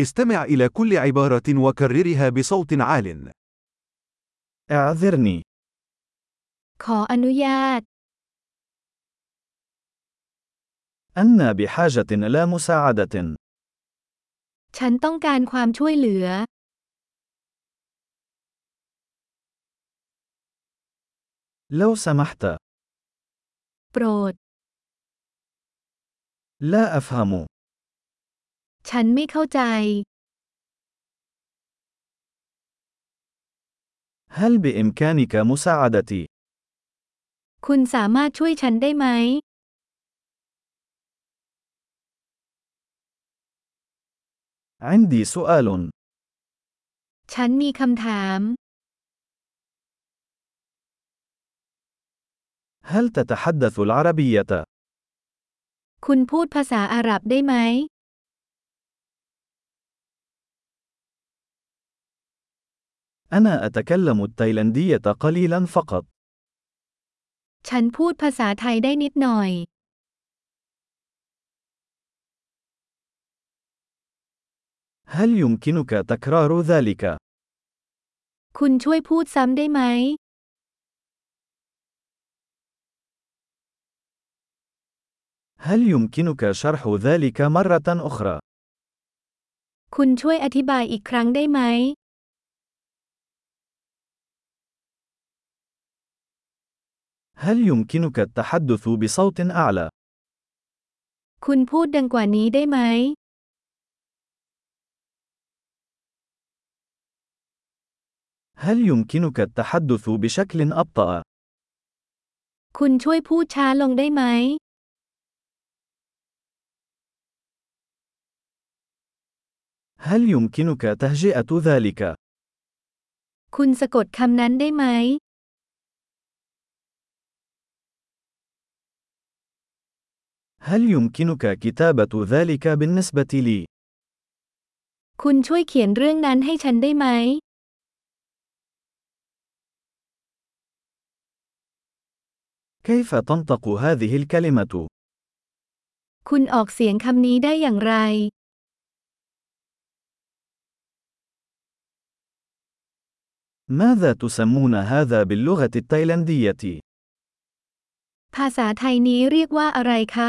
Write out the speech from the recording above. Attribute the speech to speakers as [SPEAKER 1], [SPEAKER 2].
[SPEAKER 1] استمع إلى كل عبارة وكررها بصوت عال.
[SPEAKER 2] اعذرني
[SPEAKER 3] ขออนุญาต
[SPEAKER 2] أنا بحاجة إلى مساعدة
[SPEAKER 3] ฉันต้องการความช่วยเหลือ
[SPEAKER 2] لو سمحت
[SPEAKER 3] โปรด
[SPEAKER 2] لا أفهم
[SPEAKER 3] ฉันไม่เข้าใจ
[SPEAKER 2] هل بإمكانك مساعدتي
[SPEAKER 3] คุณสามารถช่วยฉันได้ไหม
[SPEAKER 2] عندي سؤال
[SPEAKER 3] ฉันมีคำถาม
[SPEAKER 2] هل تتحدث العربية
[SPEAKER 3] คุณพูดภาษาอาหรับได้ไหม
[SPEAKER 2] أنا أتكلم التايلاندية قليلا فقط
[SPEAKER 3] ฉันพูดภาษาไทยได้นิดหน่อย
[SPEAKER 2] هل يمكنك تكرار ذلك
[SPEAKER 3] คุณช่วยพูดซ้ำได้ไหม
[SPEAKER 2] هل يمكنك شرح ذلك مرة أخرى
[SPEAKER 3] คุณช่วยอธิบายอีกครั้งได้ไหม
[SPEAKER 2] هل يمكنك التحدث بصوت أعلى
[SPEAKER 3] คุณพูดดังกว่านี้ได้ไหม
[SPEAKER 2] هل يمكنك التحدث بشكل أبطأ
[SPEAKER 3] คุณช่วยพูดช้าลงได้ไหม
[SPEAKER 2] هل يمكنك تهجئة ذلك
[SPEAKER 3] คุณสะกดคำนั้นได้ไหม
[SPEAKER 2] هل يمكنك كتابة ذلك بالنسبة لي؟
[SPEAKER 3] คุณช่วยเขียนเรื่องนั้นให้ฉันได้ไหม
[SPEAKER 2] كيف تنطق هذه الكلمة؟
[SPEAKER 3] คุณออกเสียงคำนี้ได้อย่างไร
[SPEAKER 2] ماذا تسمون هذا باللغة التايلاندية؟
[SPEAKER 3] ภาษาไทยนี้เรียกว่าอะไรคะ